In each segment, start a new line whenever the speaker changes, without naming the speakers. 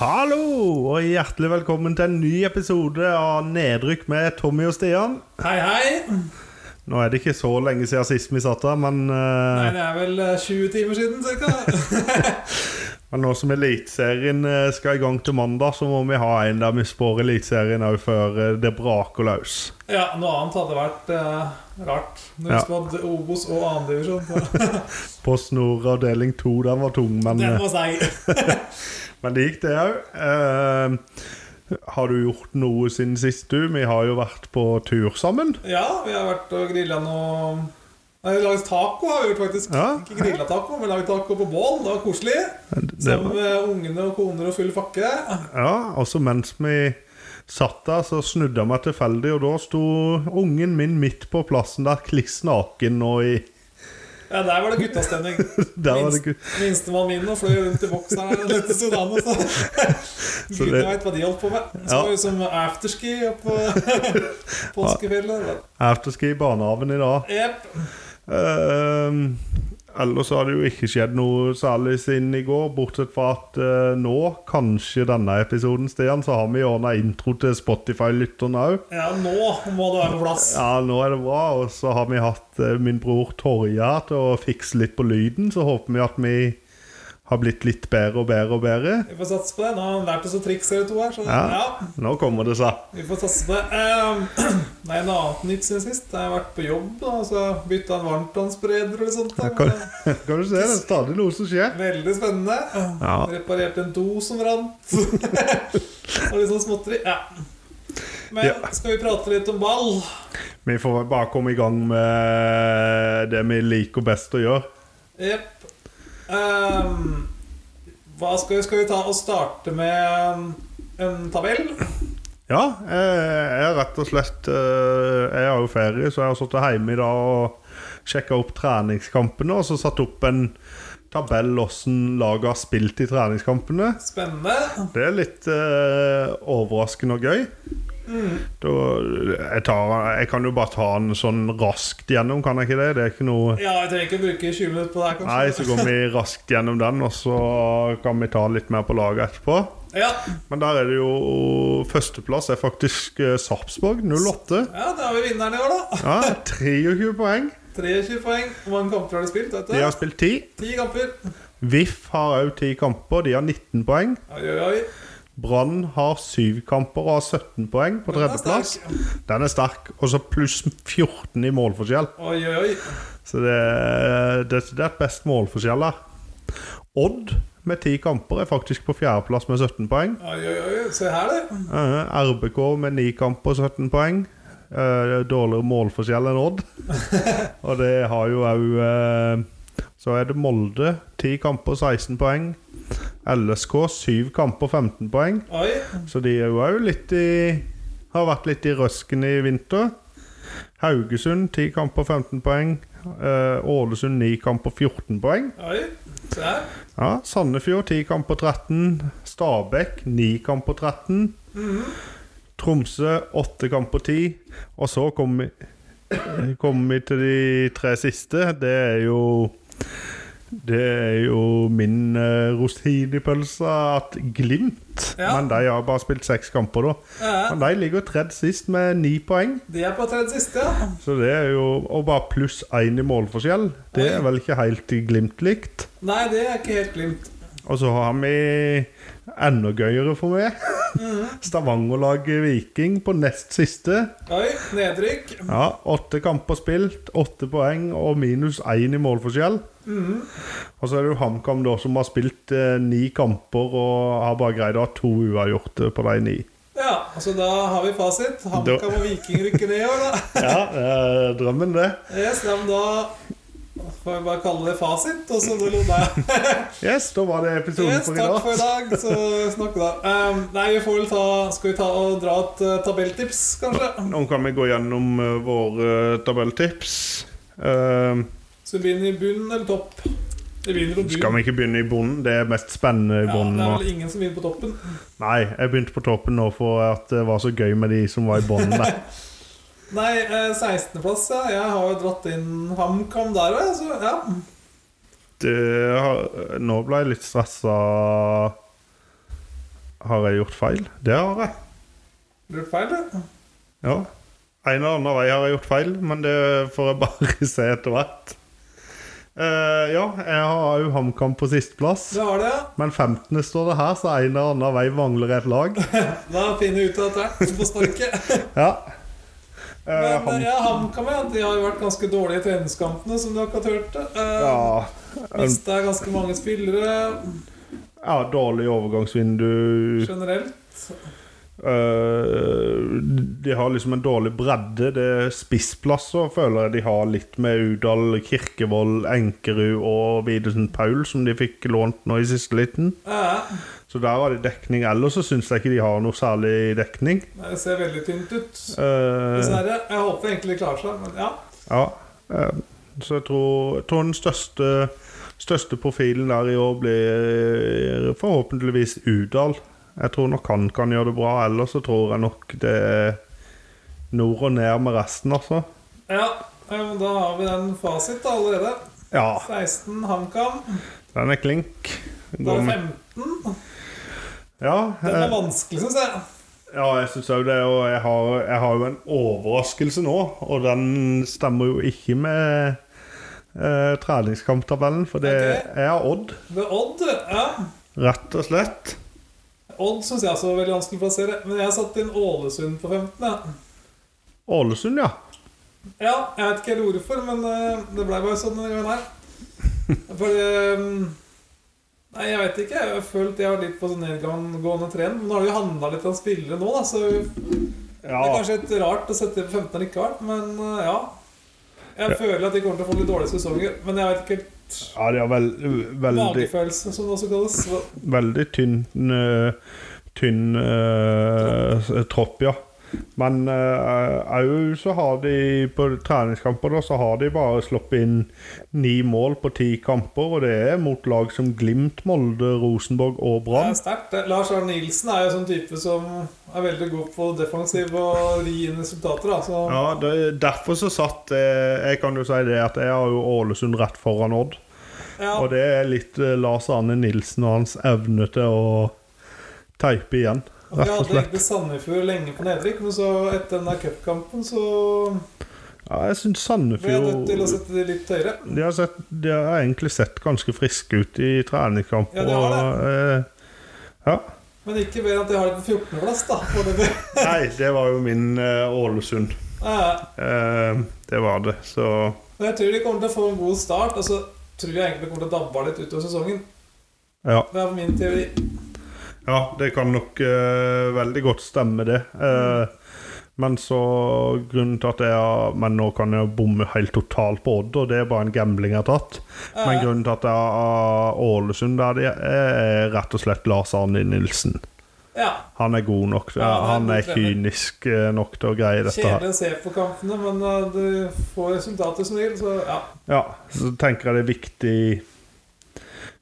Hallo, og hjertelig velkommen til en ny episode av Nedrykk med Tommy og Stian.
Hei, hei!
Nå er det ikke så lenge siden sist vi satt her, men, eh,
Nei, det er vel eh, 20 timer siden, cirka.
men nå som Eliteserien eh, skal i gang til mandag, så må vi ha en der vi spår Eliteserien òg før eh, det braker løs.
Ja, noe annet hadde vært eh, rart. Når vi
Ja.
spådde Obos og andredivisjon.
Post Nord avdeling 2, den var tung, men,
Den
eh,
var seig.
men det gikk, det òg. har du gjort noe siden sist, du? Vi har jo vært på tur sammen.
Ja, vi har vært og grilla noe Nei, vi laget taco har vi gjort, faktisk.
Ja.
Ikke grilla taco, men laget taco på bål. Det var koselig.
Det
Sammen med ungene og koner og full fakke.
Ja, altså mens vi satt der, så snudde jeg meg tilfeldig, og da sto ungen min midt på plassen der, kliss naken og i
Ja, der var det guttastemning.
Der var det ikke
Minst- Minstemann min nå fløy rundt i bokseren her og løpte Sudan. og Så.
Så det-
Gudene veit hva de holdt på med. Så
Ja.
var det som afterski oppå påskefjellet.
afterski i barnehagen i dag.
Jepp.
Ehm, ellers så har det jo ikke skjedd noe særlig siden i går, bortsett fra at eh, nå, kanskje denne episoden, Stian, så har vi ordna intro til Spotify-lytterne òg.
Ja, nå må det være på plass.
Ja, nå er det bra. Og så har vi hatt eh, min bror Torje her til å fikse litt på lyden, så håper vi at vi har blitt litt bedre og bedre og bedre.
Vi får satse på det. Nå har han lært oss å trikse dere to her, så
Ja.
ja.
Nå kommer det seg.
Vi får satse på det. Ehm, nei, noe annet nytt siden sist. Jeg har vært på jobb, da, og så bytta en varmtvannsspreder eller sånt. Da.
Kan, kan du se, det er stadig noe som skjer.
Veldig spennende.
Ja.
Reparerte en do som rant. og litt sånn småtteri. Ja. Men
Ja.
skal vi prate litt om ball?
Vi får vel bare komme i gang med det vi liker best å gjøre.
Jepp. Ehm, hva skal vi, skal vi ta og starte med en tabell?
Ja, jeg jeg er rett og slett eh, Jeg har jo ferie, så jeg har sittet hjemme i dag og sjekka opp treningskampene. Og så satt opp en tabell hvordan laget har spilt i treningskampene.
Spennende.
Det er litt eh, overraskende og gøy. Da, jeg, tar, jeg kan jo bare ta den sånn raskt gjennom, kan jeg ikke det? Det er ikke noe
Ja, vi trenger ikke bruke 20 minutter på det her, kanskje.
Nei, så går vi raskt gjennom den, og så kan vi ta litt mer på laget etterpå.
Ja.
Men der er det jo Førsteplass er faktisk eh, Sarpsborg, 08.
ja, da har vi vinneren i år, da.
Ja, 23 poeng.
23 poeng. Hvor mange kamper har de spilt? vet du?
De har spilt 10.
10 kamper.
VIF har òg 10 kamper, de har 19 poeng.
Oi, oi, oi.
Brann har 7 kamper og har 17 poeng på
Den er
tredjeplass.
sterk.
Den er sterk. Og så pluss 14 i målforskjell.
Oi, oi, oi.
Så det er desidert best målforskjell der. Odd med 10 kamper er faktisk på fjerdeplass med 17 poeng.
Oi, oi, oi. Se her, du.
Eh, RBK med 9 kamper og 17 poeng. Eh, dårligere målforskjell enn Odd. og det har jo òg eh, Så er det Molde. 10 kamper og 16 poeng. LSK 7 kamper og 15 poeng.
Oi.
Så de er jo òg litt i Har vært litt i røsken i vinter. Haugesund 10 kamper og 15 poeng. Eh, Ålesund 9 kamper og 14 poeng.
Oi. Se her.
Ja, Sandefjord 10 kamper og 13. Stabæk 9 kamper og 13. Tromsø 8 kamper og 10. Og så kommer vi, kom vi til de tre siste. Det er jo det er jo min eh, rosinipølse at Glimt
Ja.
Men de har bare spilt seks kamper, da.
Ja,
Men de ligger tredd sist med ni poeng.
de er på tredje siste, ja.
Så det er jo Og bare pluss én i målforskjell. Det er vel ikke helt Glimt likt.
Nei, det er ikke helt Glimt.
Og så har vi enda gøyere for meg.
Mm.
Stavanger-laget Viking på nest siste.
Oi, nedrykk.
Ja, Åtte kamper spilt, åtte poeng og minus én i målforskjell.
Mm.
Og så er det jo HamKam da som har spilt eh, ni kamper og har bare greid å ha to uavgjorte på de ni.
Ja, altså da har vi fasit. HamKam og Viking rykker ned i år, da.
Ja, eh, drømmen det.
Yes, ja, men da får vi bare kalle det fasit, og så det der.
Yes, da var det episoden
Yes,
for i
takk
dag.
for i dag, så snakker vi da. Um, nei, vi får vel ta Skal vi ta og dra et eh, tabelltips, kanskje?
Nå kan vi gå gjennom eh, våre tabelltips. Eh,
Så vi begynner i bunn eller topp? Vi begynner på bunn.
skal vi ikke begynne i bunnen? Det er mest spennende i
ja,
bunnen.
det
nå.
er vel ingen som begynner på toppen.
Nei, jeg begynte på toppen nå for at det var så gøy med de som var i bånn der.
Nei, eh, 16.-plass, ja. Jeg har jo dratt inn HamKam der òg, så ja.
Det har- Nå ble jeg litt stressa Har jeg gjort feil? Det har jeg.
Gjort feil, det.
Ja. En eller annen vei har jeg gjort feil, men det får jeg bare se etter hvert. Eh, ja, jeg har jo HamKam på sisteplass.
Det var det.
Men 15. står det her, så en eller annen vei mangler et lag.
Da finner vi ut av dette. Du får sparke.
Ja. Eh,
Men eh, ja, HamKam ja, de har jo vært ganske dårlige i treningskampene, som du akkurat hørte. Eh,
ja.
Mista ganske mange spillere
ja, dårlig overgangsvindu.
generelt.
Eh, de har liksom en dårlig bredde. Det er spissplasser, føler jeg de har litt med Udal, Kirkevold, Enkerud og Videsen Paul, som de fikk lånt nå i siste liten.
Ja,
Så der har de dekning. Ellers så syns jeg ikke de har noe særlig dekning.
det ser veldig tynt ut.
Eh,
Dessverre. Jeg håper egentlig de klarer seg, men ja.
ja. Eh, så jeg tror, jeg tror den største, største profilen der i år blir eh, forhåpentligvis Udal. Jeg tror nok han kan gjøre det bra, ellers så tror jeg nok det er nord og ned med resten, altså.
ja. eh, men Da har vi den fasit da, allerede.
Ja,
16 HamKam.
den er klink.
Da
Går
er det
med.
15.
Ja,
Den er
eh,
vanskelig, syns jeg.
ja, jeg syns òg det. Og jeg har, jeg har jo en overraskelse nå, og den stemmer jo ikke med eh, treningskamptabellen, for det
Ok.
er Odd,
Det er Odd. ja
rett og slett.
Odd syns jeg også var veldig vanskelig å plassere. Men jeg satte inn Ålesund på 15. Ja.
Ålesund, ja.
Ja, jeg vet ikke helt hvorfor, men eh, det blei bare sånn denne gangen her. For eh, Nei, jeg veit ikke. Jeg har følt jeg har vært litt på sånn nedgående trend. Men nå har vi handla litt om spillere nå, da, så det
Ja,
er kanskje litt rart å sette på 15 likevel. Men eh, ja. Jeg føler at de kommer til å få litt dårlige sesonger. Men jeg vet ikke helt
ja de har vel, veldig,
Magefølelse, som det også kalles. Så-
veldig tynn, eh, tynn eh, s- tropp, ja. Men òg så har de på treningskamper da, så har de bare sluppet inn ni mål på ti kamper, og det er mot lag som Glimt, Molde, Rosenborg og
Det er
Brann.
sterkt. det. Lars Arne Nilsen er jo sånn type som er veldig god på defensiv og ri inn resultater. da Så
Ja, det, derfor så satt eh, Jeg kan jo si det at jeg har jo Ålesund rett foran Odd.
ja,
Og det er litt eh, Lars Arne Nilsen og hans evne til å teipe igjen,
Vi
rett og
hadde
slett.
egentlig Sandefjord lenge på nedrykk, men så etter den der cupkampen så
Ja, jeg syns
ble jeg nødt
Sandefjord
til å sette de litt høyere.
de har, sett, de har egentlig sett ganske friske ut i treningskamp.
Ja, de har
og, eh, ja.
Men ikke mer enn at jeg har det på 14.-plass, da. foreløpig.
Nei, det var jo min eh, Ålesund.
Eh,
Eh, det var det, så
Men jeg tror de kommer til å få en god start. Og så tror jeg egentlig det kommer til å dabbe av litt utover sesongen.
ja.
Det er min teori.
ja det kan nok eh, veldig godt stemme, det. Eh, Men så grunnen til at jeg har Men nå kan jeg bomme helt totalt på Odd, og det er bare en gambling jeg har tatt. Men
Eh,
grunnen til at jeg har Ålesund der, det er rett og slett Lars Arne Nilsen.
Ja.
Han er god nok.
Ja, han
han
er
er
en god trener.
kynisk eh, nok til å greie dette. her
Kjedelig å se på kampene, men eh, du får resultater som regel, så ja.
Ja, Så tenker jeg det er viktig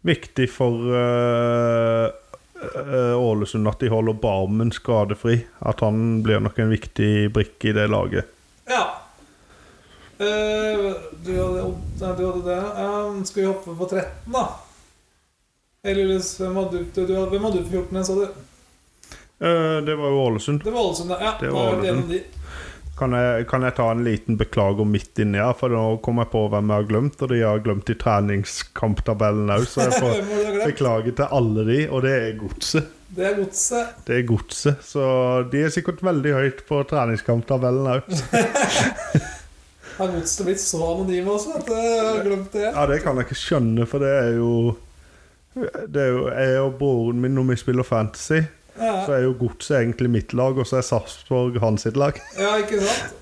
Viktig for eh, eh, Ålesund at de holder Barmen skadefri. At han blir nok en viktig brikke i det laget.
ja. Eh, du hadde Odd- nei, du hadde det. Eh, skal vi hoppe på 13, da? Eller hvem hadde du, du, hadde- hvem hadde du på 14, sa du?
Eh, det var jo Ålesund.
Det var Ålesund, ja.
Det
Det
var
var
Ålesund.
Gjennom de.
Kan jeg, kan jeg ta en liten beklager midt inni her, for nå kom jeg på hvem jeg har glemt, og de har jeg glemt i treningskamptabellen òg, så jeg får
Hvem har du glemt?
beklage til alle de, og det er Godset.
Det er Godset.
Det er Godset, så de er sikkert veldig høyt på treningskamptabellen òg.
Har Godset blitt så anonyme også at eh, jeg har glemt det?
Ja, det kan jeg ikke skjønne, for det er jo Det er jo jeg og broren min når vi spiller fantasy. Så
Ja,
er jo Godset egentlig mitt lag, og så er Sarpsborg hans sitt lag.
ja ikke sant?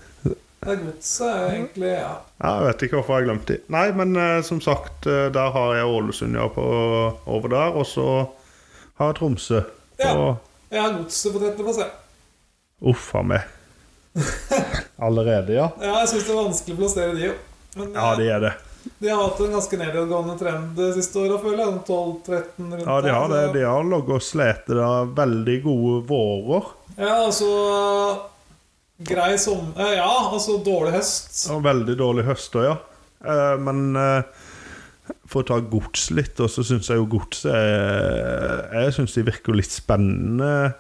Det er Godset er jo egentlig ja.
Ja, jeg vet ikke hvorfor jeg glemte de. Nei, men eh, som sagt, eh, der har jeg Ålesund ja, på, over der, og så har jeg Tromsø.
Ja.
Og
Jeg har Godset på 13. plass, jeg.
uff a meg. Allerede, ja?
Ja, jeg syns det er vanskelig å plassere de, jo. Men
Ja,
eh,
de er det.
de har hatt en ganske nedadgående trend de siste åra, føler jeg. 12-13 rundt
Ja, de har det.
der, så-
De har ligget og slitt der veldig gode vårer.
Ja, altså Grei som... eh, Ja, altså dårlig høst.
Og veldig dårlig høster, ja. Eh, Men eh, for å ta gods litt, og så syns jeg jo godset er- Jeg syns de virker jo litt spennende.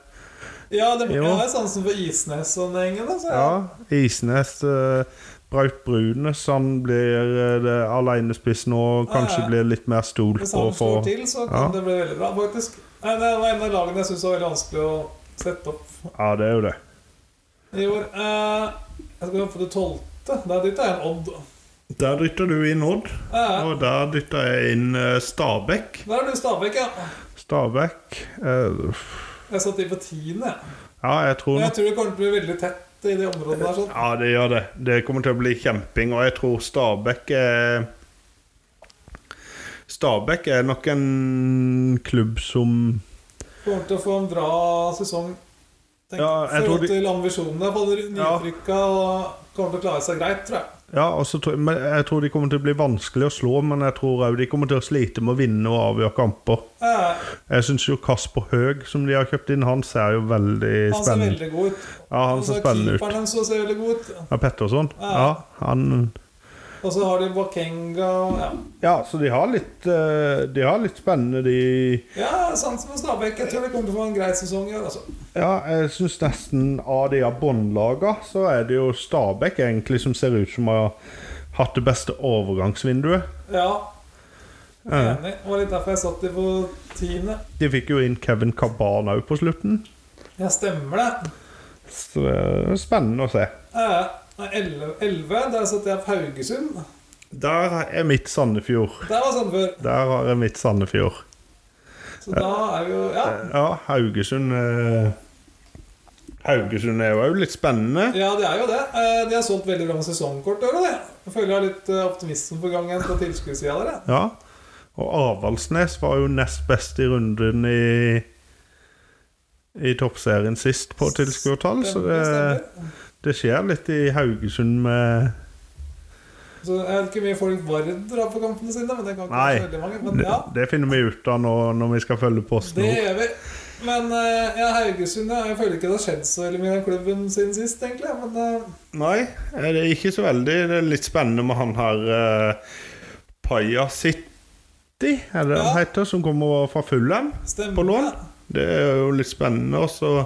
Ja, det,
Jo.
jeg har sansen for Isnes og den gjengen. Altså.
Ja, Isnes eh, Braut Brunes, han blir eh, det alenespiss nå, kanskje
Ja, ja.
blir litt mer stol
Hvis
på
han
for
slår til, så
Ja.
kan det bli veldig bra, faktisk. Nei, det var en av lagene jeg syns var veldig vanskelig å sette opp
Ja, det er jo det.
i år. Eh, jeg skal gå på det tolvte. Der dit er en Odd.
Der dytter du inn Odd,
Eh,
og der dytter jeg inn eh, Stabæk.
der er du Stabæk, ja.
Stabæk eh, f-
Jeg satt de på tiende. jeg.
Ja, jeg tror
Men Jeg tror det kommer til å bli veldig tett i de områdene der. sånn
Ja, det gjør det. Det kommer til å bli kjemping, og jeg tror Stabæk er Stabæk er nok en klubb som
Kommer til å få en bra sesong. Tenk,
Ja, jeg tror de-
forhold til ambisjonene. på de
Ja.
nytrykka og kommer til å klare seg greit, tror jeg.
Ja, og så tror, men jeg tror de kommer til å bli vanskelig å slå, men jeg tror òg de kommer til å slite med å vinne og avgjøre kamper.
Eh,
Jeg syns jo Kasper Høeg, som de har kjøpt inn, han ser jo veldig
han ser
spennende ut.
veldig god ut.
Ja, han ser
Og så
spennende ut.
Keeperen hans også ser veldig god ut.
Ja, Petterson.
Ja.
Ja, han
Og så har de Bakenga Ja,
Ja, så de har litt, eh, de har litt spennende, de
ja sansen for Stabæk. Jeg tror det kommer til å få en grei sesong i år, altså.
Ja, jeg syns nesten av de av båndlaga, så er det jo Stabæk egentlig som ser ut som har hatt det beste overgangsvinduet.
Ja.
Ja.
Enig. Det var litt derfor jeg satt de på tiende.
De fikk jo inn Kevin Cabana òg på slutten,
Ja, stemmer det.
så det er spennende å se.
Eh, nei, elleve- Elleve, der satt jeg på Haugesund.
Der er mitt Sandefjord.
Der var Sandefjord.
Der har jeg mitt Sandefjord.
Så da er vi jo Ja.
Ja, Haugesund eh, Haugesund er jo òg litt spennende.
Ja, det er jo det. Eh, De har solgt veldig bra med sesongkort. i år, og det. Jeg føler jeg har litt eh, optimisme på gang igjen på tilskuddssida der. jeg.
Ja. Og Avaldsnes var jo nest best i runden i i toppserien sist på tilskuertall, så det,
Stemmer.
det skjer litt i Haugesund med
Så Jeg vet ikke hvor mye folk Vard drar på kampene sine, men det kan ikke
Nei.
være så veldig mange. Men
Det,
ja,
det finner vi ut av nå når vi skal følge Post
det
Nord.
gjør vi. Men eh, ja, Haugesund ja, Jeg føler ikke det har skjedd så veldig mye i den klubben siden sist, egentlig. Men eh,
Nei, eh, det er ikke så veldig. Det er litt spennende med han her eh, Paya City, er det han
Ja.
heter, som kommer fra Fulham.
stemmer
på lån.
det?
Det er jo litt spennende, og så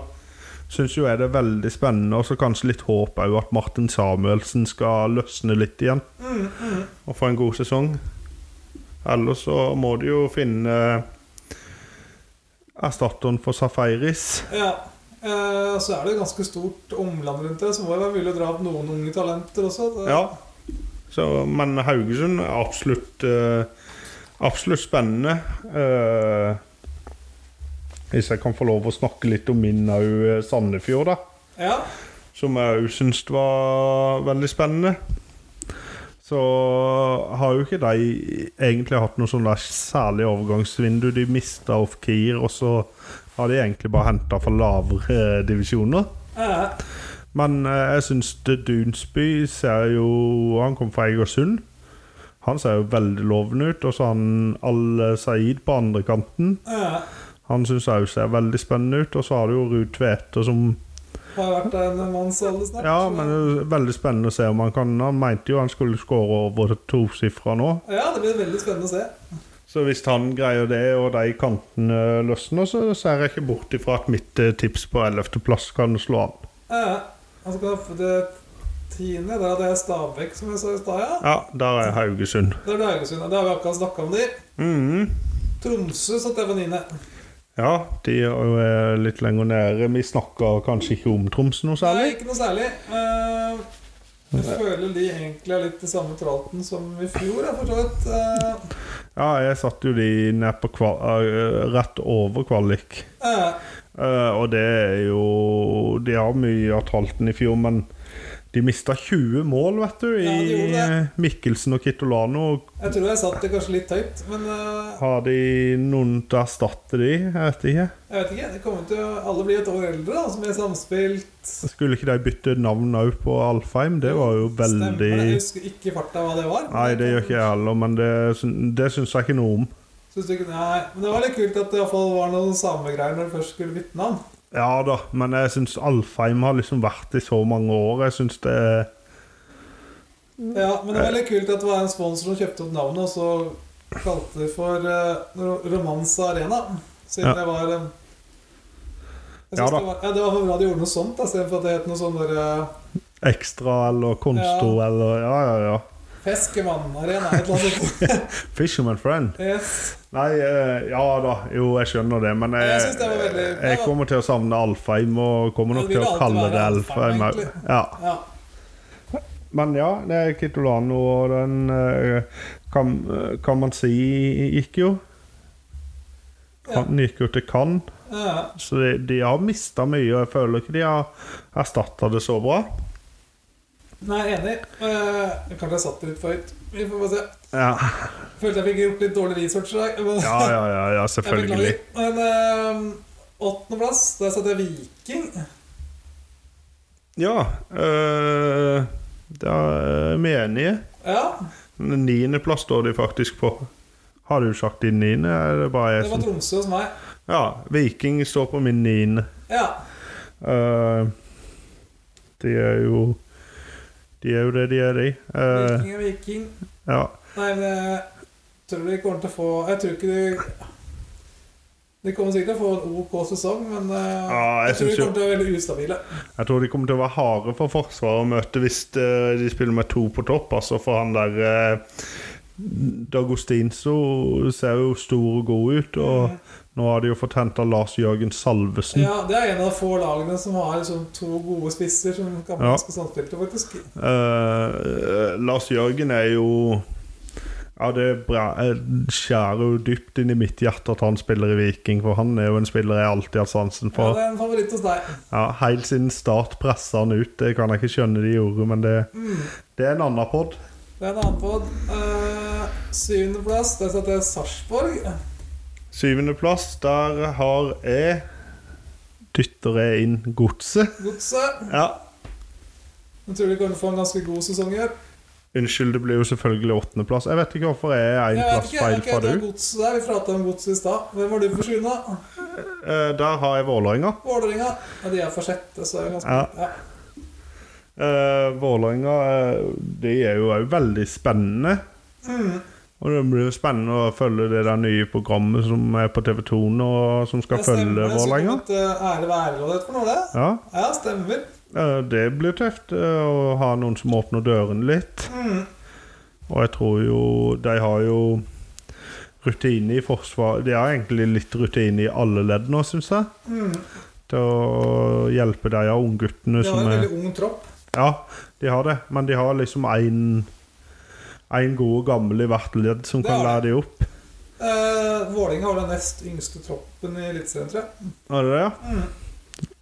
syns jo jeg det er veldig spennende, og så kanskje litt håp òg at Martin Samuelsen skal løsne litt igjen
Mm, mm.
og få en god sesong. Ellers så må de jo finne erstatteren for Safaris.
Ja. Eh, Så er det jo ganske stort omland rundt det, så må det være mulig å dra opp noen unge talenter også. Det-
Ja. Så, men Haugesund er absolutt eh, Absolutt spennende. Eh, hvis jeg kan få lov å snakke litt om min òg, Sandefjord, da.
ja.
som jeg òg syns var veldig spennende. Så har jo ikke de egentlig hatt noe sånn der særlig overgangsvindu. De mista off-keer, og så har de egentlig bare henta fra lavere divisjoner.
Eh,
Men eh, jeg syns Dunsby ser jo Han kom fra Egersund. Han ser jo veldig lovende ut. Og så han Al-Saeed på andre kanten.
eh.
Han syns òg ser veldig spennende ut. Og så har du jo Ruud Tveter som
Har vært en mannsalder snart.
Ja,
så-
men det er veldig spennende å se om han kan. Han mente jo han skulle skåre over tosifra nå.
Ja, det blir veldig spennende å se.
Så hvis han greier det, og de kantene løsner, så ser jeg ikke bort ifra at mitt eh, tips på 11.-plass kan slå an.
Eh, han skal ha det tiende. Der hadde jeg Stabæk, som jeg sa i stad. Ja.
Ja, der er Haugesund.
Der er det Haugesund. og Det har vi akkurat snakka om, de.
Mhm.
Tromsø satt jeg på niende.
Ja, de er jo eh, litt lenger nede. Vi snakker kanskje ikke om Troms noe
Nei,
særlig.
ikke noe særlig. Eh, jeg føler de egentlig er litt i samme tralten som i fjor, jeg, for så vidt. Eh,
Ja, jeg satt jo de ned på kval eh, rett over kvalik.
eh,
Eh, og det er jo De har mye av Talten i fjor, men de mista 20 mål, vet du,
Ja, de
i
gjorde det.
Mikkelsen og Kitolano.
jeg tror jeg satt det kanskje litt høyt, men eh,
Har de noen til å erstatte de? Jeg vet ikke.
jeg vet ikke. Det kommer til å alle blir et år eldre, da, som er samspilt.
Skulle ikke de bytte navn òg på Alfheim? Det var jo
Stemmer det? Jeg
veldig
husker ikke i farta hva det var.
Nei, det gjør ikke jeg heller, men det, syn- det syns jeg ikke noe om.
Synes du ikke, nei, men det var litt kult at det i hvert fall var noen samegreier når du først skulle bytte navn.
Ja da, men jeg syns Alfheim har liksom vært i så mange år. Jeg syns det
Ja, men det var litt kult at det var en sponsor som kjøpte opp navnet, og så kalte det for uh, Romanza Arena. Siden
Ja.
det var eh, jeg
Ja
synes
da.
det, var, ja, det var for bra de gjorde noe sånt, da, istedenfor at det het noe sånn der eh,
Ekstra eller Konsto eller Ja, ja, ja.
Feskemann-arena, et eller annet sånt.
Fisherman Friend.
Yes.
Nei, eh, ja da. Jo, jeg skjønner det, men jeg,
Jeg synes det var veldig-
jeg kommer til å savne Alfheim og kommer nok
Det vil
til å
alltid
kalle
være
det
Alfheim,
Alfheim.
egentlig.
også. Ja.
Ja.
Men ja, det er Kitolano og den eh, kan, eh, kan man si gikk jo.
Ja.
Han gikk jo til Cannes,
ja.
så de, de har mista mye. Og jeg føler ikke de har erstatta det så bra.
Nei, jeg er enig. Eh, kanskje jeg satt det litt for høyt. Vi får bare se.
Ja,
Følte jeg fikk gjort litt dårlig research i dag. men-
ja, ja, ja, ja
Jeg
selvfølgelig.
beklager. Men eh, åttendeplass, der satte jeg Viking.
Ja øh, Da er vi enige.
Ja,
Niendeplass står de faktisk på. Har du sagt din niende? Er det bare jeg
det var
som
Tromsø hos meg.
Ja, Viking står på min niende.
Ja.
Eh, de er jo De er jo det de er, de. Eh,
Viking er viking.
ja.
Nei, men jeg tror de kommer til å få Jeg tror ikke de De kommer sikkert til å få en OK sesong, men eh,
Ja, jeg
jeg, tror
synes
de kommer til å være veldig ustabile.
Jeg tror de kommer til å være harde for Forsvaret å møte hvis eh, de spiller med to på topp. Altså For han der eh, Dagostinso ser jo stor og god ut, og nå har de jo fått henta Lars Jørgen Salvesen.
Ja, Det er en av de få lagene som har liksom, to gode spisser som
Ja.
kan være ganske samspilte, faktisk.
Eh, Lars Jørgen er jo Ja, det er bra. Jeg skjærer jo dypt inn i mitt hjerte at han spiller i Viking, for han er jo en spiller jeg alltid har hatt sansen
Ja,
for.
det er en favoritt hos deg.
Ja, Helt siden start pressa han ut. Det kan jeg ikke skjønne de gjorde, men det,
Mm.
det er en annen pod.
Det er en annen pod. Uh, Syvendeplass, der satte jeg Sarpsborg.
Syvendeplass, der har jeg Dytter jeg inn Godset?
Godset.
Ja.
Jeg tror de kommer til å få en ganske god sesong i år.
Unnskyld, det blir jo selvfølgelig åttendeplass. Jeg vet ikke hvorfor jeg er én
Jeg vet
plass
ikke,
feil
ok,
fra
det er
du.
gods der. Vi prata om gods i stad. Hvem var du for sjuende?
Eh, Der har jeg Vålerenga.
Vålerenga. Ja, de er for sjette, så er det ganske
Ja.
ja.
Eh, Vålerenga eh, de er jo òg veldig spennende.
Mm.
Og det blir jo spennende å følge det der nye programmet som er på TV2 nå, som skal
Det
følge
stemmer,
Vålerenga.
så godt, eh, Ære være lov for noe, det.
Ja,
Ja, stemmer.
eh, det blir tøft eh, å ha noen som åpner dørene litt.
Mm.
Og jeg tror jo De har jo rutine i forsvar De har egentlig litt rutine i alle ledd nå, syns jeg. Til å hjelpe de av ungguttene
Mm. De har
som
en
er
veldig ung tropp.
Ja, de har det, men de har liksom en En god og gammel i hvert ledd som
Det
kan
har
lære de opp.
Eh, Vålerenga har den nest yngste troppen i Eliteserien, tror jeg.
Er det det, ja?
Mm.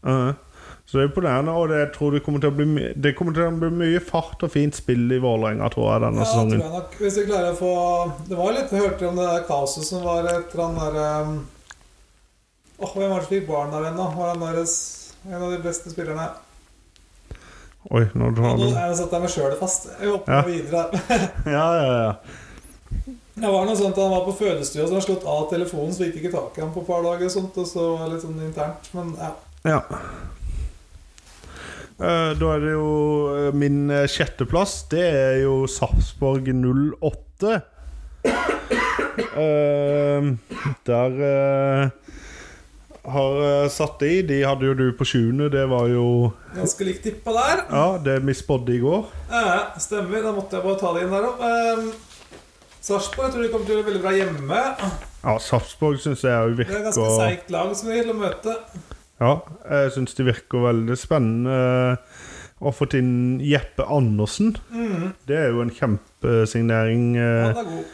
Ja, ja. Så det er imponerende, og det, jeg tror det kommer til å bli my- Det kommer til å bli mye fart og fint spill i Vålerenga, tror jeg, denne
Ja, tror
sesongen.
jeg nok. Hvis vi klarer å få Det var litt Jeg hørte om det der kaoset som var etter han derre Åh, hvem var det som fikk barn der ennå? Var han deres en av de beste spillerne?
Oi, nå
Nå
tar du
er jeg satt der med sjølet fast. Jeg hopper
Ja.
videre her.
Ja, ja, ja.
Det var noe sånt at Han var på fødestua, så han slått av telefonen, så vi fikk ikke tak i ham på et par dager. og sånt, og så var det litt sånn internt, men ja.
ja. Eh, Da er det jo eh, min eh, sjetteplass. Det er jo Sarpsborg 08. Eh, der eh, har jeg satt i. De hadde jo du på sjuende. Det var jo
Ganske likt tippa der.
Ja, det vi spådde i går.
Eh, stemmer. Da måtte jeg bare ta det inn der òg. Eh, Sarpsborg jeg tror de kommer til å gjøre det veldig bra hjemme.
Ja, Sarpsborg syns jeg jo
Det er et
virker
ganske seigt lag som de vil å møte.
Ja, jeg syns det virker veldig spennende eh, å få til Jeppe Andersen. Det er jo en kjempesignering. eh,
Mm. Han er god.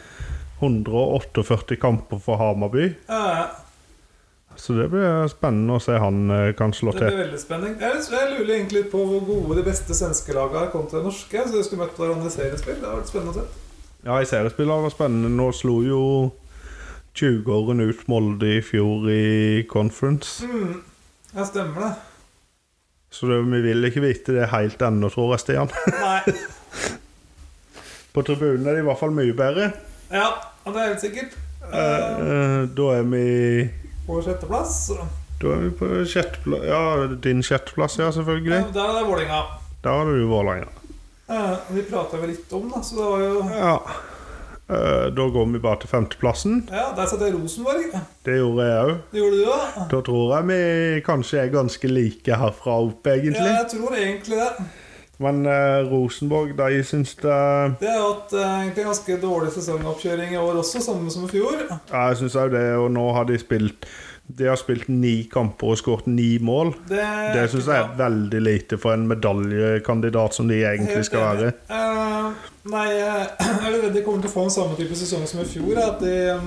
148 kamper for Hamarby.
Eh,
Så det blir spennende å se han eh, kan slå
det
til.
blir veldig spennende. Jeg, jeg lurer egentlig litt på hvor gode de beste svenske lagene er kontra de norske. Så de skulle møtt hverandre i seriespill. Det har vært spennende å se.
Ja, i seriespillet var det spennende. Nå slo jo 20-åren ut Molde i fjor i conference.
Ja, stemmer det.
Så det, vi vil ikke vite det helt ennå, tror jeg, Stian.
Nei.
På tribunen er det i hvert fall mye bedre.
Ja, det er helt sikkert. Eh,
Eh, Da er vi
på sjetteplass. Ja,
da er vi på sjetteplass Ja, din sjetteplass, ja, selvfølgelig.
der er det Vålerenga.
Der har du Vålerenga.
Eh, vi prata vel litt om, da, så det var jo
Ja. Eh, Da går vi bare til femteplassen.
Ja, der satt jeg i Rosenborg.
Det gjorde jeg òg.
Det gjorde du òg.
Da tror jeg vi kanskje er ganske like herfra opp,
Ja,
egentlig.
jeg tror egentlig det.
Men eh, Rosenborg, de syns det
Det har hatt eh, egentlig en ganske dårlig sesongoppkjøring i år også, samme som i fjor.
Ja, Jeg syns òg det, og nå har de spilt De har spilt ni kamper og skåret ni mål.
Det,
Det syns jeg er veldig lite for en medaljekandidat som de egentlig skal være.
Eh, nei, eh, jeg er redd de kommer til å få en samme type sesong som i fjor. At de eh,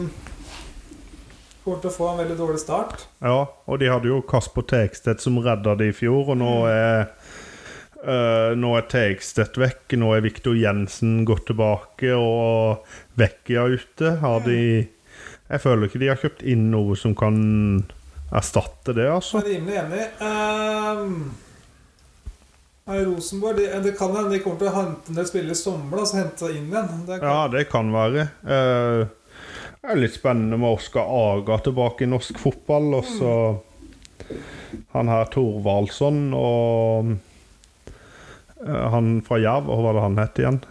kommer til å få en veldig dårlig start.
Ja, og de hadde jo Kasper Tegstedt som redda de i fjor, og nå er eh, nå er Tegstedt vekk, nå er Viktor Jensen gått tilbake, og Vekkia ute. Har de Jeg føler ikke de har kjøpt inn noe som kan erstatte det,
Jeg
altså.
er rimelig enig. Eh, nei, Rosenborg de, Det kan hende de kommer til å hente en del spillere i sommer og så hente seg inn igjen. Det kan,
Ja, det kan være. Eh, det er litt spennende med Oskar Aga tilbake i norsk fotball,
Mm.
og så han her Thorvaldsson og eh, han fra Jerv, og hva var det han het igjen?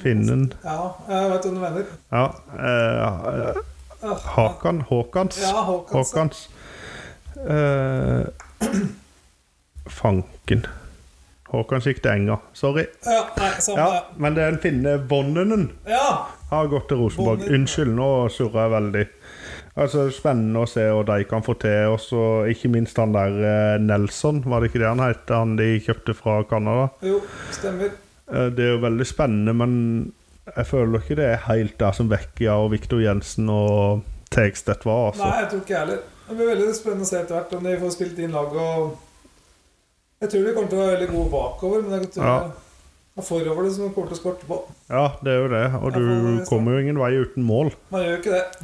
Finnen.
Ja, jeg vet hvem du mener.
Ja. eh,
Ah,
Hakan Håkans.
Ja, Håkans.
Håkans. Eh, fanken. Håkans gikk til Enga. Sorry.
Ja, nei, samme
Ja,
det.
men det er en finne Vonnenen
Ja.
har gått til Rosenborg.
Vonnunen.
Unnskyld, nå surrer jeg veldig. Altså, Spennende å se hva de kan få til. Og så ikke minst han der eh, Nelson, var det ikke det han het? Han de kjøpte fra Canada.
Jo, stemmer.
Eh, Det er jo veldig spennende, men jeg føler ikke det er helt der som Vekkia og Viktor Jensen og Tegstedt var. altså.
Nei, jeg tror ikke jeg heller. Det blir veldig spennende å se etter hvert om de får spilt inn laget og Jeg tror de kommer til å være veldig gode bakover, men jeg tror
Ja.
det er forover det som kommer til å skorte på.
Ja, det er jo det. Og
Jeg får
du
det
kommer jo ingen vei uten mål.
Man gjør jo ikke det.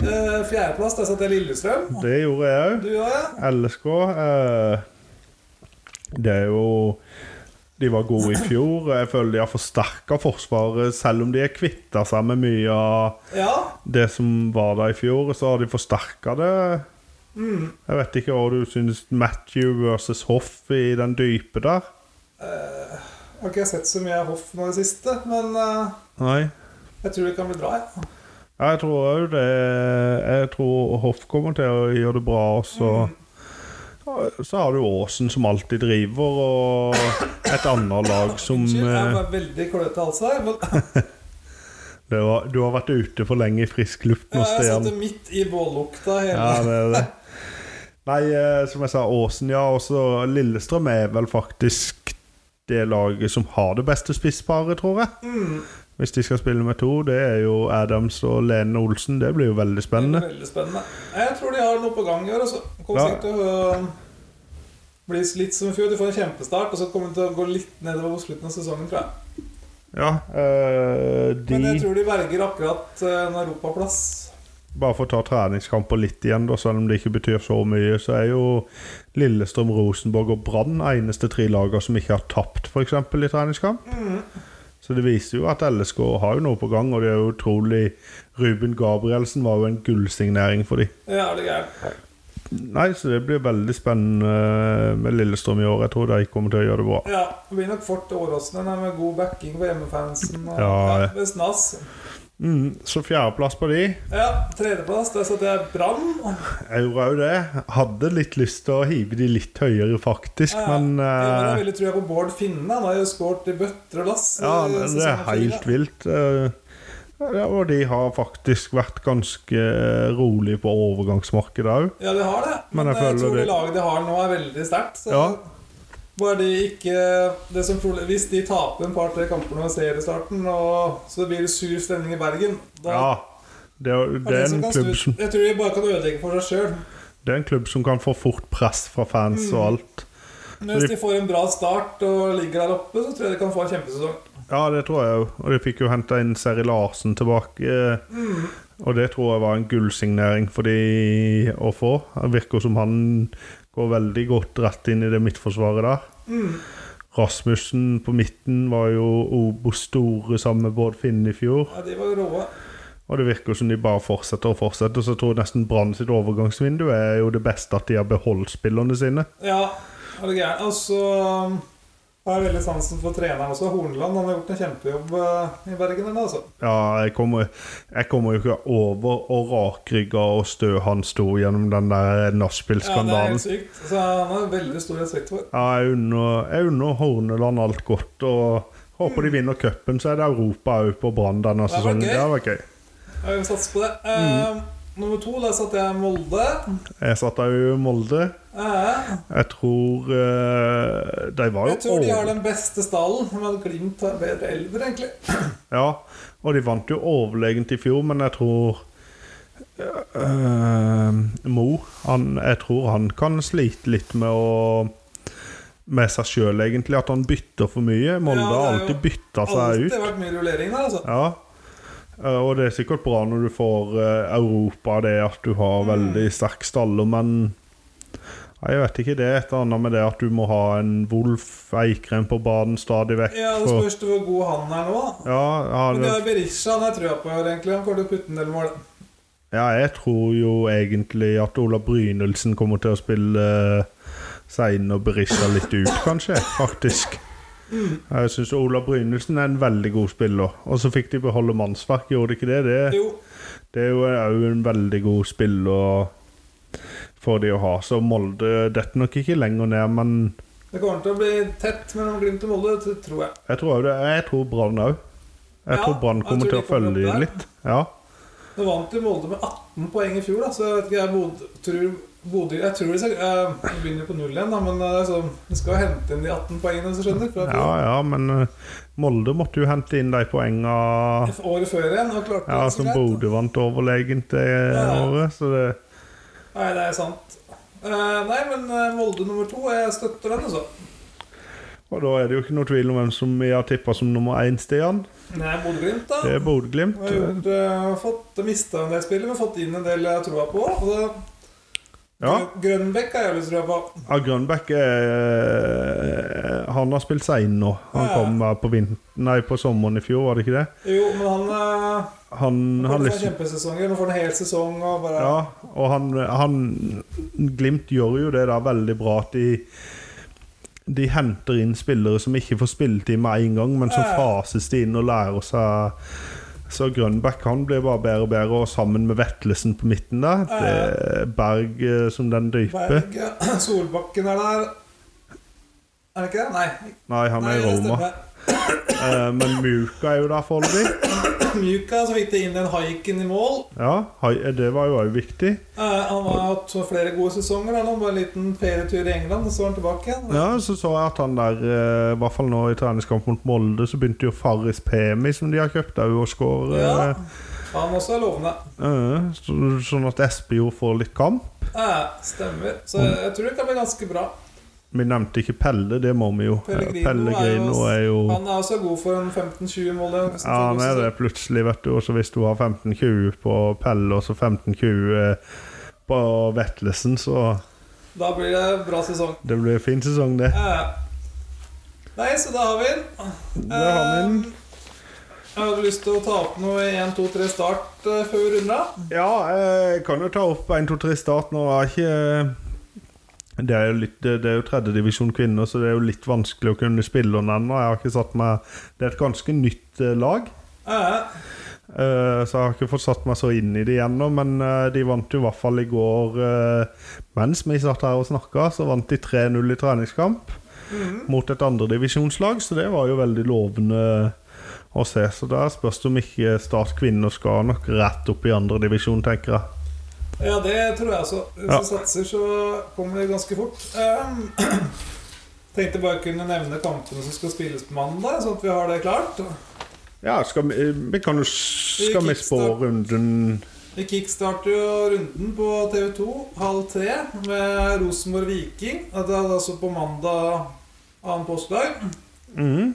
Eh, Fjerdeplass, der satt jeg Lillestrøm.
Det gjorde jeg òg.
Du og jeg.
LSK eh, Det er jo De var gode i fjor. Jeg føler de har forsterka forsvaret, selv om de har kvitta seg med mye av
Ja.
det som var der i fjor. Så har de forsterka det.
Mm.
Jeg vet ikke hva du syns Matthew versus Hoff i den dype der.
Har ikke jeg sett så mye av Hoff nå i det siste, men eh,
Nei.
jeg tror det kan bli bra. jeg.
Jeg tror òg det Jeg tror Hoff kommer til å gjøre det bra også.
Mm.
Så har du Åsen som alltid driver, og et annet lag som
Unnskyld, jeg
eh,
var veldig kløete i halsen her. Men
det var, Du har vært ute for lenge i frisk luft nå,
jeg
Stian.
satt midt i bållukta hele
Ja, det er det. Nei, eh, som jeg sa, Åsen, ja. Og så Lillestrøm er vel faktisk det laget som har det beste spissparet, tror jeg.
Mm.
Hvis de skal spille med to, det er jo Adams og Lene Olsen. Det blir jo veldig spennende.
Veldig spennende. Jeg tror de har noe på gang i år. Også. Kommer
Ja.
sikkert til å øh, bli litt som i fjor. De får en kjempestart, og så kommer de til å gå litt nedover mot slutten av sesongen, tror jeg.
Ja, eh, de
Men jeg tror de berger akkurat øh, en europaplass.
Bare for å ta treningskamper litt igjen, da, selv om det ikke betyr så mye, så er jo Lillestrøm, Rosenborg og Brann eneste tre lager som ikke har tapt for eksempel, i treningskamp. Så det viser jo at LSK har jo noe på gang, og det er jo utrolig Ruben Gabrielsen var jo en gullsignering for dem.
Det er det gærent.
Nei, så det blir veldig spennende med Lillestrøm i år. Jeg tror de kommer til å gjøre det bra.
Ja, det blir nok fort Åråsen her med god backing på hjemmefansen. Og,
Ja,
ja,
ja.
med snass.
Mm, så fjerdeplass på de.
Ja, tredjeplass, der satt jeg Brann.
Jeg gjorde òg det. Hadde litt lyst til å hive de litt høyere, faktisk,
Ja,
men
Jeg har
eh,
veldig trua på Bård Finne. Han har jo skåret i bøtter og lass.
Ja,
i
det det er
sesongen før, ja.
helt vilt. eh, ja, Og de har faktisk vært ganske rolig på overgangsmarkedet òg.
Ja, de har det.
Men
Men,
jeg
jeg,
føler
tror det
det-
laget de har nå, er veldig sterkt. Så
Ja.
bare de ikke det som, problem- Hvis de taper en par-tre kamper nå i seriestarten, og så blir det sur stemning i Bergen da
Ja, det er,
er
det, er
som
en
kan
klubb
snu-
som,
Jeg tror de bare kan ødelegge for seg sjøl.
det er en klubb som kan få fort press fra fans og alt.
Men
Så
hvis
de-
de får en bra start og ligger der oppe, så tror jeg de kan få en kjempesesong.
Ja, det tror jeg òg. Og de fikk jo henta inn Seri Larsen tilbake. eh, Og det tror jeg var en gullsignering for de å få. Det virker som han går veldig godt rett inn i det midtforsvaret der. Rasmussen på midten var jo Obos store sammen med Bård Finn i fjor.
Ja, de var råe.
Og det virker som de bare fortsetter og fortsetter. Så jeg tror nesten Brann sitt overgangsvindu er jo det beste at de har beholdt spillerne sine.
Ja, er det gærent. Og så Jeg um, har veldig sansen for treneren også. Horneland han har gjort en kjempejobb eh, i Bergen. denne, Altså.
Ja, jeg kommer, jeg kommer jo ikke over å rakrygge og stø han sto gjennom den der
Ja, det er
nachspiel-skandalen.
helt sykt. Så han har veldig stor respekt for.
Ja, jeg unner- jeg unner Horneland alt godt. og Håper de vinner cupen, så er det Europa òg på Brann denne
hadde vært
sesongen. Det
gøy.
hadde vært gøy.
Ja, vi satser på det. Eh, Nummer to, der satte jeg Molde.
Jeg satt òg i Molde.
Eh,
Jeg tror eh, De var jo
jeg tror de har
over-
den beste stallen, men Glimt har bedre elver, egentlig.
Ja, og de vant jo overlegent i fjor, men jeg tror eh, Mo han, Jeg tror han kan slite litt med å Med seg sjøl, egentlig. At han bytter for mye. Molde
Ja, det
har
er jo
alltid bytta seg
Alltid
ut.
vært mye rullering der, altså.
Ja. Eh, Og det er sikkert bra når du får eh, Europa, det at du
Mm.
har veldig sterk staller, men Nei, jeg vet ikke. Det er et eller annet med det at du må ha en Wolf Eikrem på banen stadig vekk.
Ja, Det
for-
spørs det hvor god han er nå. da.
ja, ja,
Men
det-
det er Berisha han har trua på, egentlig. Han kommer til å putte en del mål.
Ja, jeg tror jo egentlig at Ola Brynildsen kommer til å spille eh, Sein og Berisha litt ut, kanskje. Faktisk. Jeg syns Ola Brynildsen er en veldig god spiller. Og så fikk de beholde mannsverk, gjorde de ikke det? Det,
Jo,
det er jo òg en veldig god spiller for de å ha. Så Molde detter nok ikke lenger ned, men
det kommer til å bli tett mellom Glimt og Molde, det tror jeg.
jeg tror, det, jeg tror Brann òg. Jeg
Ja,
tror Brann
jeg
kommer til
tror de
å
kommer
følge
opp der.
dem litt. Ja.
Nå vant jo Molde med 18 poeng i fjor, da, så jeg vet ikke Jeg bod, tror Bodø Jeg tror de skal eh, de begynner på null igjen, da, men eh, altså, de skal jo hente inn de 18 poengene, hvis du skjønner. Fra
ja,
fjor.
ja, men eh, Molde måtte jo hente inn de poenga
Året før igjen, og klarte
Ja,
det så
som
greit, da.
Bodø vant overlegent det
Ja.
året, så det
Nei, det er sant. Eh, nei, men eh, Molde nummer to, jeg støtter den, altså.
Og da er det jo ikke noe tvil om hvem som vi har tippa som nummer én, Stian.
Nei, Bodø-Glimt, da.
Det er Bodø-Glimt.
Jeg har gjort, eh, fått mista en del spillere, men fått inn en del jeg har troa på. Og så-
Ja,
Grønbekk har jeg lyst til å trua på.
ja Grønbæk eh, Han har spilt seg inn nå. Han
Ja.
kom her på, vin- nei, på sommeren i fjor, var det ikke det?
Jo, men han eh,
Han har
får liksom...
liksom
kjempesesonger. Nå får han en hel sesong og bare
Ja, og han, han Glimt gjør jo det der veldig bra at de de henter inn spillere som ikke får spilletid med en gang, men så
Ja.
fases de inn og lærer seg Så Grønbæk han blir bare bedre og bedre, og sammen med Vetlesen på midten der det er Berg eh, som den dype.
Berg, ja, Solbakken er der. Er det ikke det? Nei.
Nei, han
Nei,
er i
det
Roma.
stemmer.
Eh, Men Muka er jo der foreløpig.
Mjuka, så fikk det inn en haiken i mål.
Ja, hei- det var jo òg viktig.
Eh, han har hatt flere gode sesonger. da. Nå bare en liten ferietur i England, og så er han tilbake igjen.
Ja, så så jeg at han der, eh, i hvert fall nå i treningskamp mot Molde, så begynte jo Farris Pemi, som de har kjøpt, òg å skåre.
Ja. Han også er lovende.
Eh, så, sånn at Espejord får litt kamp.
Eh, stemmer. Så jeg tror det kan bli ganske bra.
Vi nevnte ikke Pelle, det må vi jo.
Pellegrino
Eh, Pellegrino
er
er jo
Han er også god for en 15-20 mål. det er nesten
ja, han er det plutselig, vet du. Og så hvis du har 15-20 på Pelle, og så 15-20 på Vetlesen, så
Da blir det bra sesong.
det blir en fin sesong, det.
Eh, nei, så da har vi den.
Det har vi den.
Jeg hadde lyst til å ta opp noe i 1, 2, 3 start eh, før vi runder av.
Ja, eh, jeg kan jo ta opp 1, 2, 3 start nå. Er ikke, eh, det er jo litt, det det er jo tredjedivisjon kvinner, så det er jo litt vanskelig å kunne spille den ennå. Jeg har ikke satt meg Det er et ganske nytt eh, lag,
Eh,
eh, så jeg har ikke fått satt meg så inn i det ennå. Men eh, de vant jo i hvert fall i går eh, mens vi satt her og snakka, så vant de 3-0 i treningskamp mot et andredivisjonslag, så det var jo veldig lovende. eh, Å se, så Der spørs det om ikke Start kvinner skal nok rett opp i andredivisjon, tenker jeg.
ja, det tror jeg også. Hvis
Ja.
vi satser, så kommer det ganske fort. Eh, tenkte bare kunne nevne kampene som skal spilles på mandag, sånn at vi har det klart.
Ja, skal vi, eh, vi kan jo Skal vi spå
kickstart.
runden
Vi kickstarter jo runden på TV2 halv tre med Rosenborg Viking. Det er altså på mandag annen postdag.
Mhm.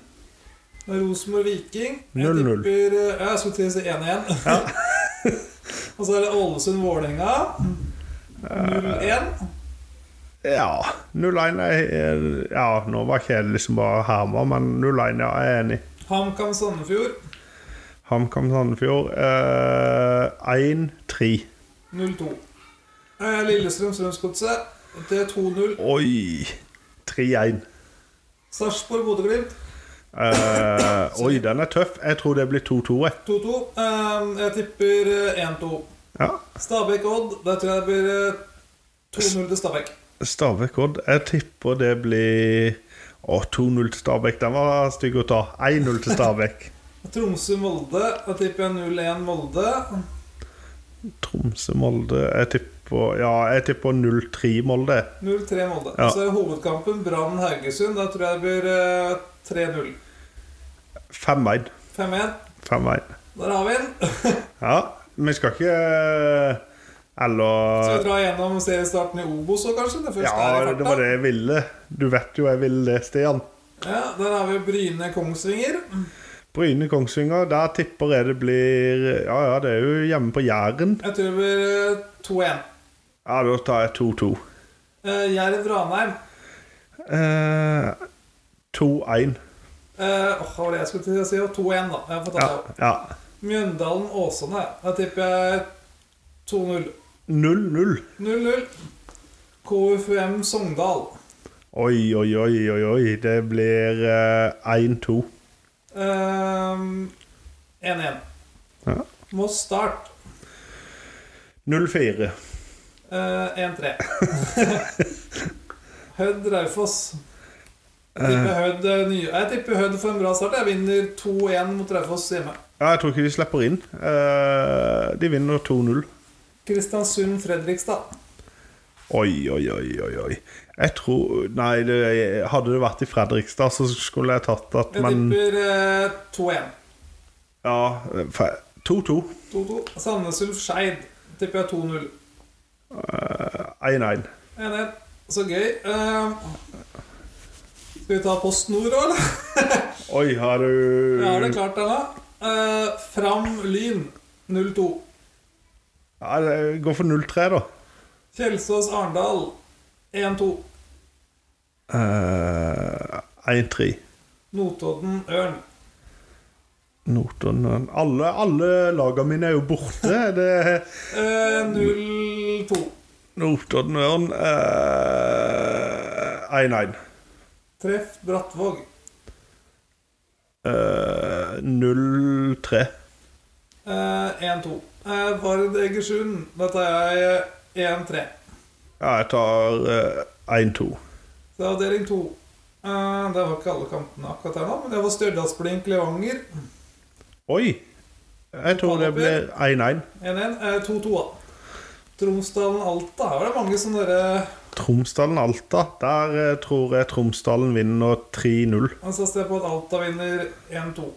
Med Rosenborg Viking. Jeg
0-0.
tipper eh, ja, Jeg skulle til å si 1-1. Og så er det Ålesund-Vålerenga.
Eh.
0-1.
Ja. 0-1 er- er- Ja, nå var ikke jeg liksom bare herma, men 0-1 ja, jeg er enig.
HamKam Sandefjord.
HamKam Sandefjord eh, 1-3.
0-2. Eh, Lillestrøm Strømsgodset. Det er 2-0.
Oi! 3-1.
Sarpsborg-Bodø-Glimt
Eh, oi, den er tøff. Jeg tror det blir 2-2. jeg.
2-2. Eh, jeg tipper eh, 1-2.
Ja.
Stabæk-Odd. Der tror jeg det blir eh, 2-0 til Stabæk.
Stabæk-Odd. Jeg tipper det blir Å, 2-0 til Stabæk. Den var stygg å ta. 1-0 til Stabæk.
Tromsø-Molde. Da tipper jeg 0-1 Molde.
Tromsø-Molde. Jeg tipper Ja, jeg tipper 0-3 Molde.
0-3 Molde.
Ja.
Så er hovedkampen Brann-Haugesund. Da tror jeg det blir eh, 3-0.
5-1.
5-1.
5-1.
Der har vi den.
Ja. Vi skal ikke eh,
Skal
Eller
vi dra gjennom seriestarten i Obos òg, kanskje? Det første er
Ja,
i
det
farta.
var det jeg ville. Du vet jo jeg ville det, Stian.
Ja, der har vi Bryne-Kongsvinger.
Bryne-Kongsvinger. Der tipper jeg det blir Ja, ja, det er jo hjemme på Jæren.
Jeg tror det blir eh, 2-1.
Ja, da tar jeg 2-2.
Eh, Jerv-Ranheim.
Eh, 2-1.
Eh, åh, hva var det jeg skulle til å si? Ja, 2-1, da. Jeg får ta
Ja.
det opp.
ja.
Mjøndalen-Åsane. Da tipper jeg 2-0.
0-0.
0-0. KFUM Sogndal.
Oi, oi, oi, oi, oi. Det blir eh, 1-2.
Ehm, 1-1.
Ja.
Moss Start.
0-4.
Eh, 1-3. Hødd Raufoss. Jeg tipper Hødd, eh, ny- jeg tipper Hødd får en bra start. Jeg vinner 2-1 mot Raufoss hjemme.
Ja, jeg tror ikke de slipper inn. Eh, de vinner 2-0.
Kristiansund-Fredrikstad.
Oi, oi, oi, oi, oi. Jeg tror Nei, det, hadde det vært i Fredrikstad, så skulle jeg tatt at
Jeg
Men
tipper eh, 2-1.
ja, fe- 2-2.
2-2. Sandnes Ulf Skeid. Tipper jeg 2-0.
Eh, 1-1.
Enig. Så gøy. Ehm, skal vi ta Post Nord òg, eller?
Oi, har du
Ja, er det klart, det, da? Eh, fram Lyn 0-2.
Ja, det går for 0-3, da.
Kjelsås Arendal 1-2.
Eh, 1-3.
Notodden Ørn.
Notodden Alle, alle lagene mine er jo borte. Det
Eh, 0-2.
Notodden Ørn eh, 1-1.
Treff Brattvåg.
Eh, 0-3.
Eh, 1-2. Eh, Vard Egersund. Da tar jeg eh, 1-3.
Ja, jeg tar eh, 1-2.
Så det er avdeling 2. Eh, det var ikke alle kampene akkurat her nå, men det var Stjørdalsblink Levanger.
Oi! Jeg tror det blir 1-1.
1-1. Eh, 2-2, da. Tromsdalen Alta. Her var det mange sånne derre
Tromsdalen-Alta. Der eh, tror jeg Tromsdalen vinner 3-0.
Han satser jeg på at Alta vinner 1-2.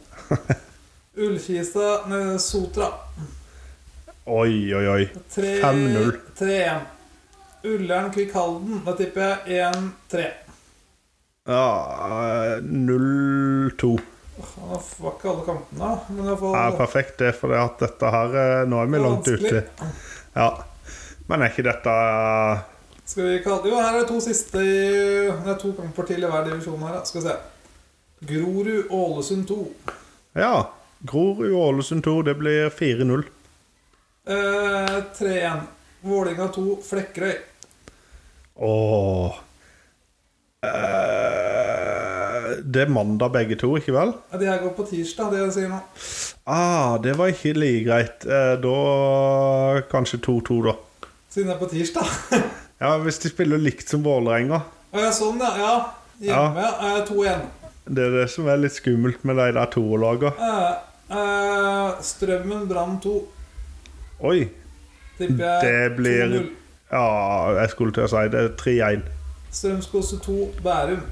Ullkista nei, Sotra.
Oi, oi, oi.
3
5-0.
3-1. Ullern Kvikk Halden. Da tipper jeg 1-3.
Ja, eh, 0-2.
Åh, Han var ikke alle kampene, da, men i hvert
Ja,
fall
perfekt, det, for at dette her eh, Nå er vi langt ute.
Vanskelig.
Ja. Men er ikke dette eh,
Skal vi kalle Jo, her er det to siste i Det er to kamper til i hver divisjon her, da. Skal vi se. Grorud Ålesund 2.
Ja. Grorud og Ålesund 2, det blir 4-0.
Eh, 3-1. Vålinga 2 Flekkerøy.
Åh. Eh, det er mandag begge to, ikke vel?
Ja, De her går på tirsdag, det jeg sier nå.
Ah, det var ikke like greit. Eh, da kanskje 2-2, da.
Siden det er på tirsdag.
Ja, Hvis de spiller likt som Vålerenga.
Å ja, sånn, ja. ja. Hjemme ja. Eh, er 2-1.
Det er det som er litt skummelt med de der toerlaga.
Eh, eh, strømmen Brann 2.
Oi.
Tipper jeg
Det blir
2-0.
Ja, jeg skulle til å si det. 3-1.
Strømskose 2, Bærum.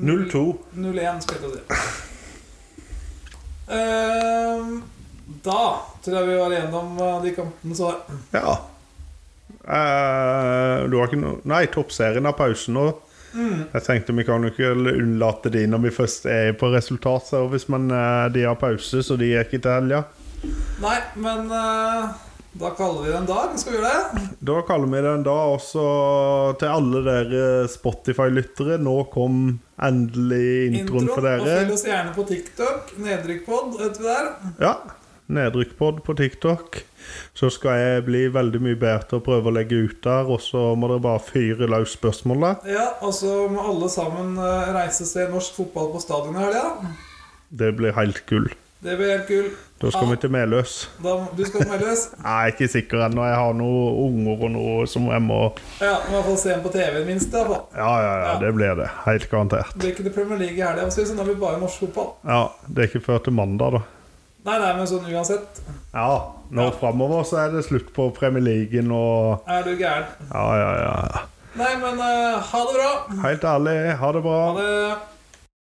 0-2.
0-1, skal jeg til å si. Eh, da tror jeg vi var igjennom eh, de kampene som var.
Ja. Eh, du har ikke noe Nei, toppserien har pause nå. Jeg tenkte vi kan jo ikke unnlate de når vi først er på resultatservice, men eh, de har pause, så de er ikke til helga.
Nei, men eh, da kaller vi det en dag. Skal vi gjøre det?
Da kaller vi den da også til alle dere Spotify-lyttere. Nå kom endelig introen for
Og følg
dere.
oss gjerne på TikTok. Nedrykkpod, vet vi der.
Ja. Nedrykkpod på TikTok. Så skal jeg bli veldig mye bedre til å prøve å legge ut der, og så må dere bare fyre løs spørsmål der.
Ja, og så må alle sammen eh, reise og se norsk fotball på stadion i helga.
Det blir helt gull.
Det blir helt gull.
Da skal vi til Meløs.
Da, du skal meldes.
Jeg er ikke sikker ennå. Jeg har noen unger og noe som jeg må
Ja, må i hvert fall se den på TV minst. i hvert fall.
Ja, ja, ja, det blir det. Helt garantert.
Det blir ikke det Premier League i helga, så da blir det bare norsk fotball.
Ja, Det er ikke før til mandag, da.
Nei, nei, men sånn uansett.
Ja, nå framover så er det slutt på Premier League og
Er du gæren?
Ja, ja, ja.
Nei, men eh, ha det bra.
Helt ærlig, ha det bra.
Ha det.